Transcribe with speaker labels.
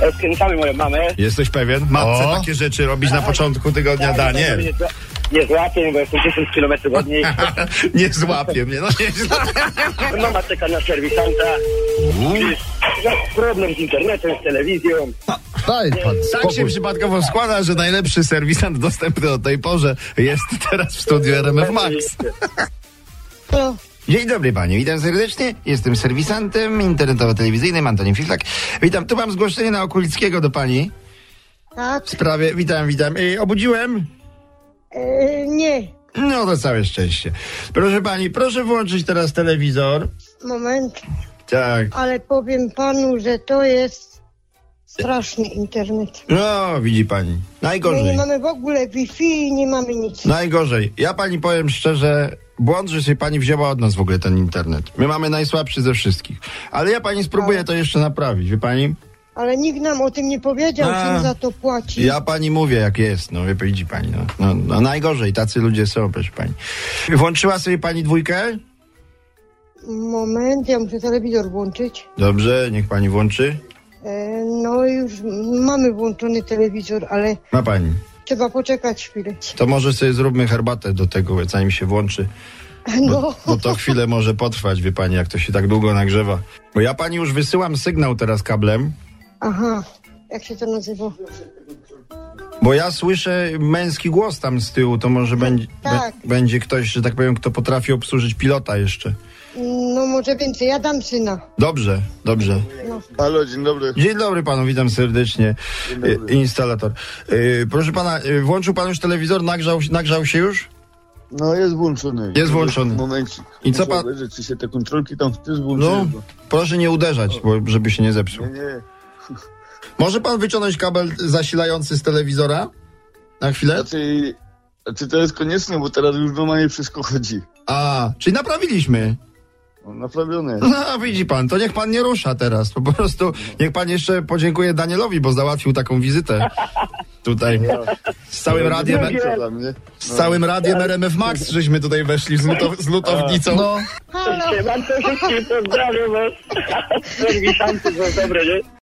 Speaker 1: Rozkręcamy moją mamę.
Speaker 2: Jesteś pewien? Matce
Speaker 3: O.
Speaker 2: takie rzeczy robić na początku tygodnia da, nie.
Speaker 1: Nie, zła- nie złapię, bo jestem 10 km od niej.
Speaker 2: tak, Nie złapie mnie, no nieźle.
Speaker 1: Mama czeka na serwisanta. No, problem z internetem, z telewizją.
Speaker 3: Daj pan
Speaker 2: Tak się
Speaker 3: spokój.
Speaker 2: przypadkowo składa, że najlepszy serwisant dostępny o tej porze jest teraz w studiu RMF Max.
Speaker 3: No,
Speaker 2: Dzień dobry panie, witam serdecznie. Jestem serwisantem internetowo-telewizyjnym Antoni Fiflak. Witam, tu mam zgłoszenie na Okulickiego do pani.
Speaker 4: Tak?
Speaker 2: W sprawie, witam, witam. Yy, obudziłem?
Speaker 4: E, nie.
Speaker 2: No to całe szczęście. Proszę pani, proszę włączyć teraz telewizor.
Speaker 4: Moment.
Speaker 2: Tak.
Speaker 4: Ale powiem panu, że to jest straszny internet.
Speaker 2: No, widzi pani.
Speaker 4: My nie
Speaker 2: Najgorzej.
Speaker 4: mamy w ogóle Wi-Fi i nie mamy nic.
Speaker 2: No. Najgorzej. Ja pani powiem szczerze, błąd, że się pani wzięła od nas w ogóle ten internet. My mamy najsłabszy ze wszystkich. Ale ja pani spróbuję to jeszcze naprawić, wie pani?
Speaker 4: Ale nikt nam o tym nie powiedział,
Speaker 2: A.
Speaker 4: czym za to płaci.
Speaker 2: Ja pani mówię, jak jest, no wie widzi pani. No, no, no najgorzej, tacy ludzie są, proszę pani. Włączyła sobie pani dwójkę?
Speaker 4: Moment, ja muszę telewizor włączyć.
Speaker 2: Dobrze, niech pani włączy.
Speaker 4: E, no już mamy włączony telewizor, ale
Speaker 2: Ma pani.
Speaker 4: trzeba poczekać chwilę.
Speaker 2: To może sobie zróbmy herbatę do tego, zanim się włączy.
Speaker 4: No,
Speaker 2: Bo to chwilę może potrwać, wie pani, jak to się tak długo nagrzewa. Bo ja pani już wysyłam sygnał teraz kablem,
Speaker 4: aha. Jak się to nazywa?
Speaker 2: bo ja słyszę męski głos tam z tyłu, to może będzie,
Speaker 4: tak.
Speaker 2: be- będzie ktoś, że tak powiem, kto potrafi obsłużyć pilota jeszcze.
Speaker 4: No może więcej, ja dam syna.
Speaker 2: Dobrze, dobrze.
Speaker 5: Halo, dzień dobry.
Speaker 2: Dzień dobry panu, witam serdecznie. Y, Instalator. Y, proszę pana, y, włączył pan już telewizor, nagrzał, nagrzał się już?
Speaker 5: No, jest włączony.
Speaker 2: Jest włączony.
Speaker 5: W momencie.
Speaker 2: I co pan-
Speaker 5: Obejrzeć, czy się te kontrolki tam też włączyły.
Speaker 2: No,
Speaker 5: bo-
Speaker 2: proszę nie uderzać, bo, żeby się nie zepsuł.
Speaker 5: Nie, nie.
Speaker 2: Może pan wyciągnąć kabel zasilający z telewizora? Na chwilę?
Speaker 5: Znaczy, znaczy to jest konieczne, bo teraz już normalnie wszystko chodzi.
Speaker 2: A, czyli naprawiliśmy.
Speaker 5: No, naprawione.
Speaker 2: No, widzi pan, to niech pan nie rusza teraz. Po prostu niech pan jeszcze podziękuje Danielowi, bo załatwił taką wizytę tutaj. Z całym radiem,
Speaker 5: Co dla mnie?
Speaker 2: z całym radiem RMF Max, żeśmy tutaj weszli z, luto, z lutownicą.
Speaker 3: no.
Speaker 4: Halo!
Speaker 1: Mam to wszystkim pozdrawiam was. Serwisanty są dobre, nie?